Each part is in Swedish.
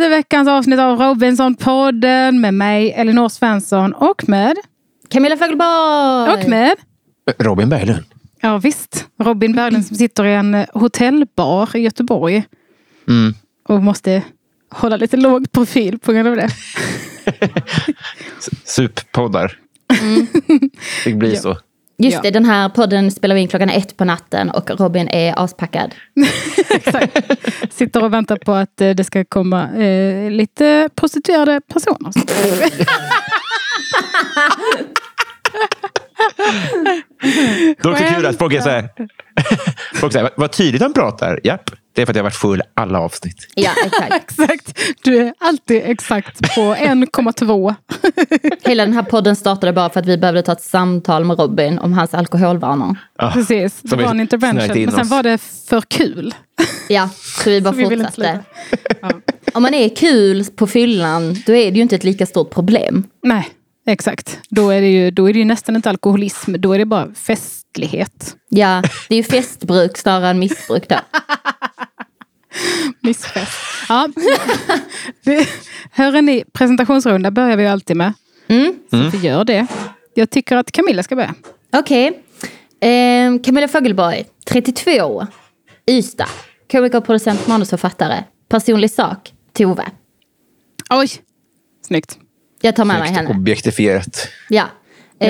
till veckans avsnitt av Robinson-podden med mig, Elinor Svensson och med... Camilla Fogelborg! Och med... Robin Berglund. Ja visst, Robin Berglund som sitter i en eh, hotellbar i Göteborg Mm. och måste hålla lite låg profil på grund av det. Suppoddar. Det blir så. Just Mm. Ja. det, den här podden spelar vi in klockan ett på natten och Robin är aspackad. Exakt. Sitter och väntar på att eh, det ska komma eh, lite prostituerade personer. Det är också kul att folk är så här. Folk säger, "Vad- vad tydligt han pratar. Japp, det är för att jag har varit full alla avsnitt. Ja, exakt. Exakt. Du är alltid exakt på 1,2. Hela den här podden startade bara för att vi behövde ta ett samtal med Robin om hans alkoholvanor. Ah, Precis, det som vi var en snärjt intervention. in Men sen oss. var det för kul. Ja, så vi bara Vi vill inte fortsatte. sluta. Ja. Om man är kul på fyllan, då är det ju inte ett lika stort problem. Nej, exakt. Då är, det ju, då är det ju nästan inte alkoholism, då är det bara festlighet. Ja, det är ju festbruk snarare än missbruk då. Missfest. Ja. Det, hör ni, presentationsrunda börjar vi ju alltid med. Mm. Så Mm. vi gör det. Jag tycker att Camilla ska börja. Okej. Ehm, Camilla Fogelborg, 32. Ystad. Komiker, producent, manusförfattare. Personlig sak, Tove. Oj! Snyggt. Jag tar med mig Snyggt henne. Objektifierat. Ja. Eh,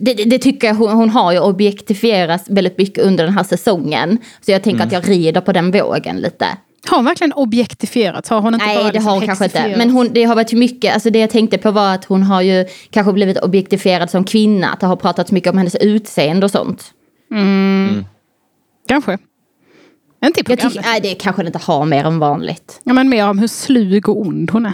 det, det det tycker jag hon, hon har ju objektifierats väldigt mycket under den här säsongen. Så jag tänker att Mm. jag rider på den vågen lite. Har hon verkligen objektifierats? Har hon inte bara Nej, det liksom har hon kanske inte. hexifierats? Men hon, det har varit mycket, alltså det jag tänkte på var att hon har ju kanske blivit objektifierad som kvinna. Att det har pratats mycket om hennes utseende och sånt. Kanske. Inte i Jag programmet. tycker, nej, det kanske det inte har mer än vanligt. Ja, men mer om hur slug och ond hon är.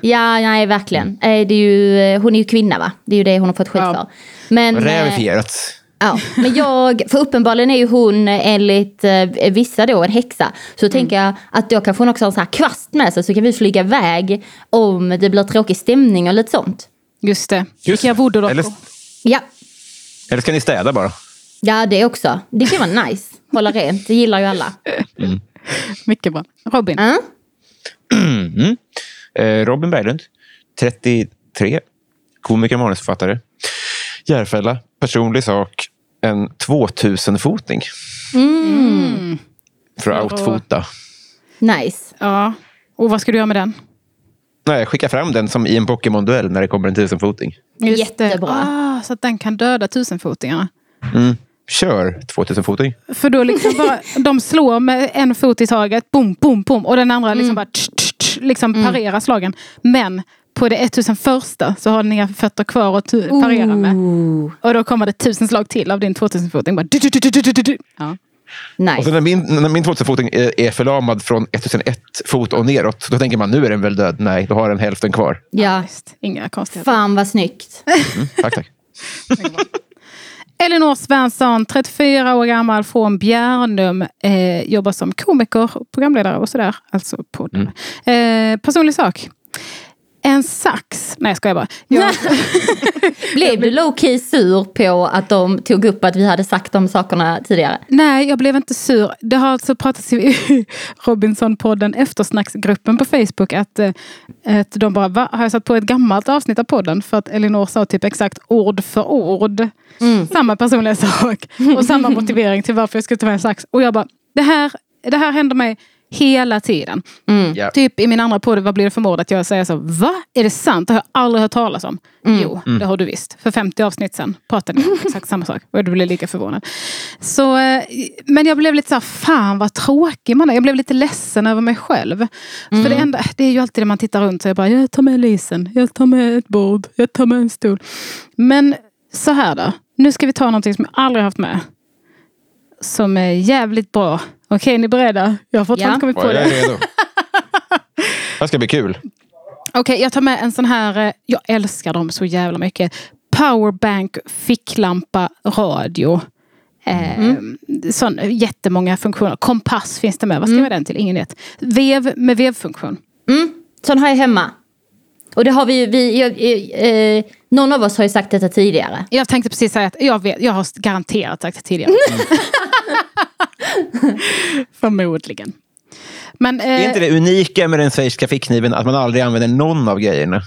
Ja, nej, verkligen. Eh, Det är ju, hon är ju kvinna, va? Det är ju det hon har fått skit Ja. för. Men, eh, Rävifierat. Ja, men jag, för uppenbarligen är ju hon eh, enligt eh, vissa då en häxa. Så tänker jag att då kanske hon också har en sån här kvast med sig så kan vi flyga iväg om det blir tråkig stämning och lite sånt. Just det. Just- Kikka voodoo eller, Ja, eller ska ni städa bara? ja det också. Det kan vara nice. Hålla rent, det gillar ju alla. Mycket bra. Robin. Ja. Mm. Eh, Robin Berglund, 33. Komiker och manusförfattare. Järfälla, personlig sak. En 2000-foting. Mm. För att Åh. outfota. Nice. Ja. Och vad ska du göra med den? Nej, skicka fram den som i en Pokémon-duell när det kommer en 1000-foting. Just det. Jättebra. Ah, så att den kan döda tusenfotingarna. Mm. Kör 2000-foting. För då liksom bara, de slår med en fot i taget, boom, boom, boom. Och den andra liksom bara tsch, tsch, tsch, liksom parerar slagen. Men på det 1001 så har den inga fötter kvar att tu- parera med. Ooh, Och då kommer det tusen slag till av din 2000-foting. Bara du, du, du, du, du, du, du. Ja. Och nice. så när min, när min 2000-foting är, är förlamad från 1001 fot och neråt, då tänker man nu är den väl död. Nej, då har den hälften kvar. Mm. Ja, Just, inga konstigheter. fan vad snyggt. Tack, tack. Elinor Svensson, 34 år gammal från Bjärnum. Eh, jobbar som komiker, och programledare och sådär. Alltså på eh, Personlig sak. En sax. Nej, jag skojar bara. Jag, Blev du low-key sur på att de tog upp att vi hade sagt de sakerna tidigare? Nej, jag blev inte sur. Det har alltså pratats i Robinson-podden Eftersnacksgruppen på Facebook att, eh, att de bara, va? Har jag satt på ett gammalt avsnitt av podden? För att Elinor sa typ exakt ord för ord. Samma personliga sak och samma motivering till varför jag skulle ta med en sax. Och jag bara, det här, det här händer mig hela tiden. Ja. Typ i min andra podd, vad blir det för mord? Att jag säger så, va? Är det sant? Det har jag aldrig hört talas om. Jo, det har du visst. För 50 avsnitt sen pratade ni om exakt samma sak. Och du blev lika förvånad. Så, eh, men jag blev lite så här, fan vad tråkig man är. Jag blev lite ledsen över mig själv. För det, enda, det är ju alltid det man tittar runt. Så jag bara, jag tar med Lisen, jag tar med ett bord, jag tar med en stol. Men så här då. Nu ska vi ta någonting som jag aldrig haft med. Som är jävligt bra. Okej, är ni beredda? Jag har fortfarande Ja. kommit på Ja, det. jag är redo. Det här ska bli kul. Okej, jag tar med en sån här. eh, Jag älskar dem så jävla mycket. Powerbank, ficklampa, radio. Eh, Mm-hmm. sån, eh, jättemånga funktioner. Kompass finns det med. Vad ska Mm. jag med den till? Ingen vet. Vev med vevfunktion. Mm, Sån har jag hemma. Och det har vi ju, vi, jag, eh, eh, någon av oss har ju sagt detta tidigare. Jag tänkte precis säga att jag, vet, jag har Mm. garanterat sagt det tidigare. Förmodligen. Men, eh, Är inte det unika med den schweiziska fickkniven att man aldrig använder någon av grejerna?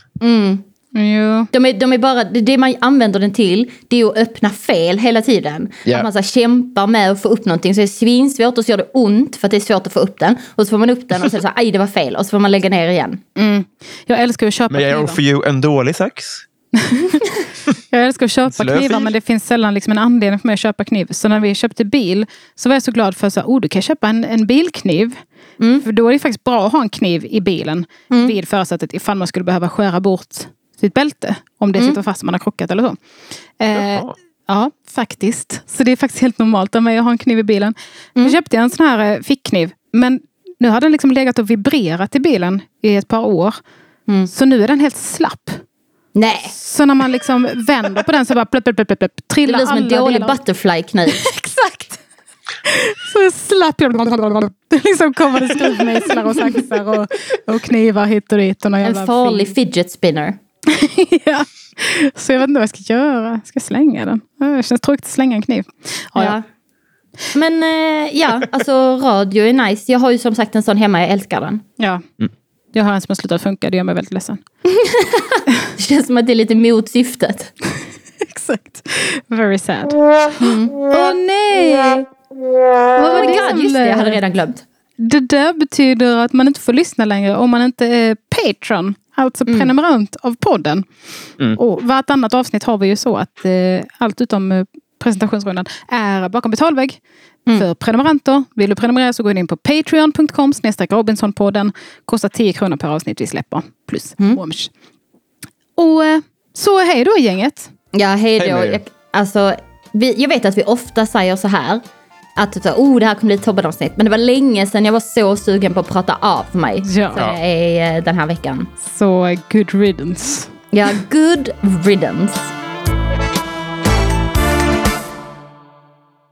Jo. De är, de är bara, det man använder den till det är att öppna fel hela tiden. Ja. Att man så här, kämpar med att få upp någonting så är det svinsvårt och så gör det ont för att det är svårt att få upp den. Och så får man upp den och så är det så här, aj det var fel och så får man lägga ner igen. Jag älskar att köpa Men jag gör knivar. för you en dålig sax. Jag älskar att köpa Slöfil. knivar men det finns sällan liksom en anledning för mig att köpa kniv. Så när vi köpte bil så var jag så glad för att oh, du kan köpa en, en bilkniv. För då är det faktiskt bra att ha en kniv i bilen vid förarsätet ifall man skulle behöva skära bort sitt bälte. Om det sitter fast och man har krockat eller så. Eh, Jaha. ja, faktiskt. Så det är faktiskt helt normalt av mig att ha en kniv i bilen. Nu köpte jag en sån här eh, fickkniv. Men nu har den liksom legat och vibrerat i bilen i ett par år. Så nu är den helt slapp. Nej, Så när man liksom vänder på den så bara plupp, plupp, plupp, plupp, plupp, det trillar blir som en alla dålig delar. butterfly-kniv. Exakt! Så slapp jag. Det liksom kommer det skruvmejslar och saxar och, och knivar hit och dit. Och någon jävla En farlig fin- fidget spinner. ja. Så jag vet inte vad jag ska göra. Ska jag slänga den? Ja, Det känns tråkigt att slänga en kniv. Ja, ja. Men eh, ja, alltså radio är nice. Jag har ju som sagt en sån hemma, jag älskar den. ja. Jag har en som har slutat funka, det gör mig väldigt ledsen. Det känns som att det är lite mot syftet. Exakt. Very sad. Åh Mm. nej! Vad Oh var my det som- God, just det, jag hade redan glömt. Det där betyder att man inte får lyssna längre om man inte är patron. Alltså prenumerant av podden. Och vartannat avsnitt har vi ju så att eh, allt utom eh, presentationsrundan är bakom betalvägg. För prenumeranter. Vill du prenumerera så gå in på patreon.com snedstreck Robinsonpodden. Kostar 10 kronor per avsnitt vi släpper. Plus moms. Och eh, så hej då gänget. Ja, hej då. Hej med er. Jag, alltså, vi, jag vet att vi ofta säger så här. Att typ så här, oh, det här kommer bli ett Tobben-avsnitt. Men det var länge sedan jag var så sugen på att prata av mig. Ja. Som jag är eh, den här veckan. Så good riddance. Ja, good riddance.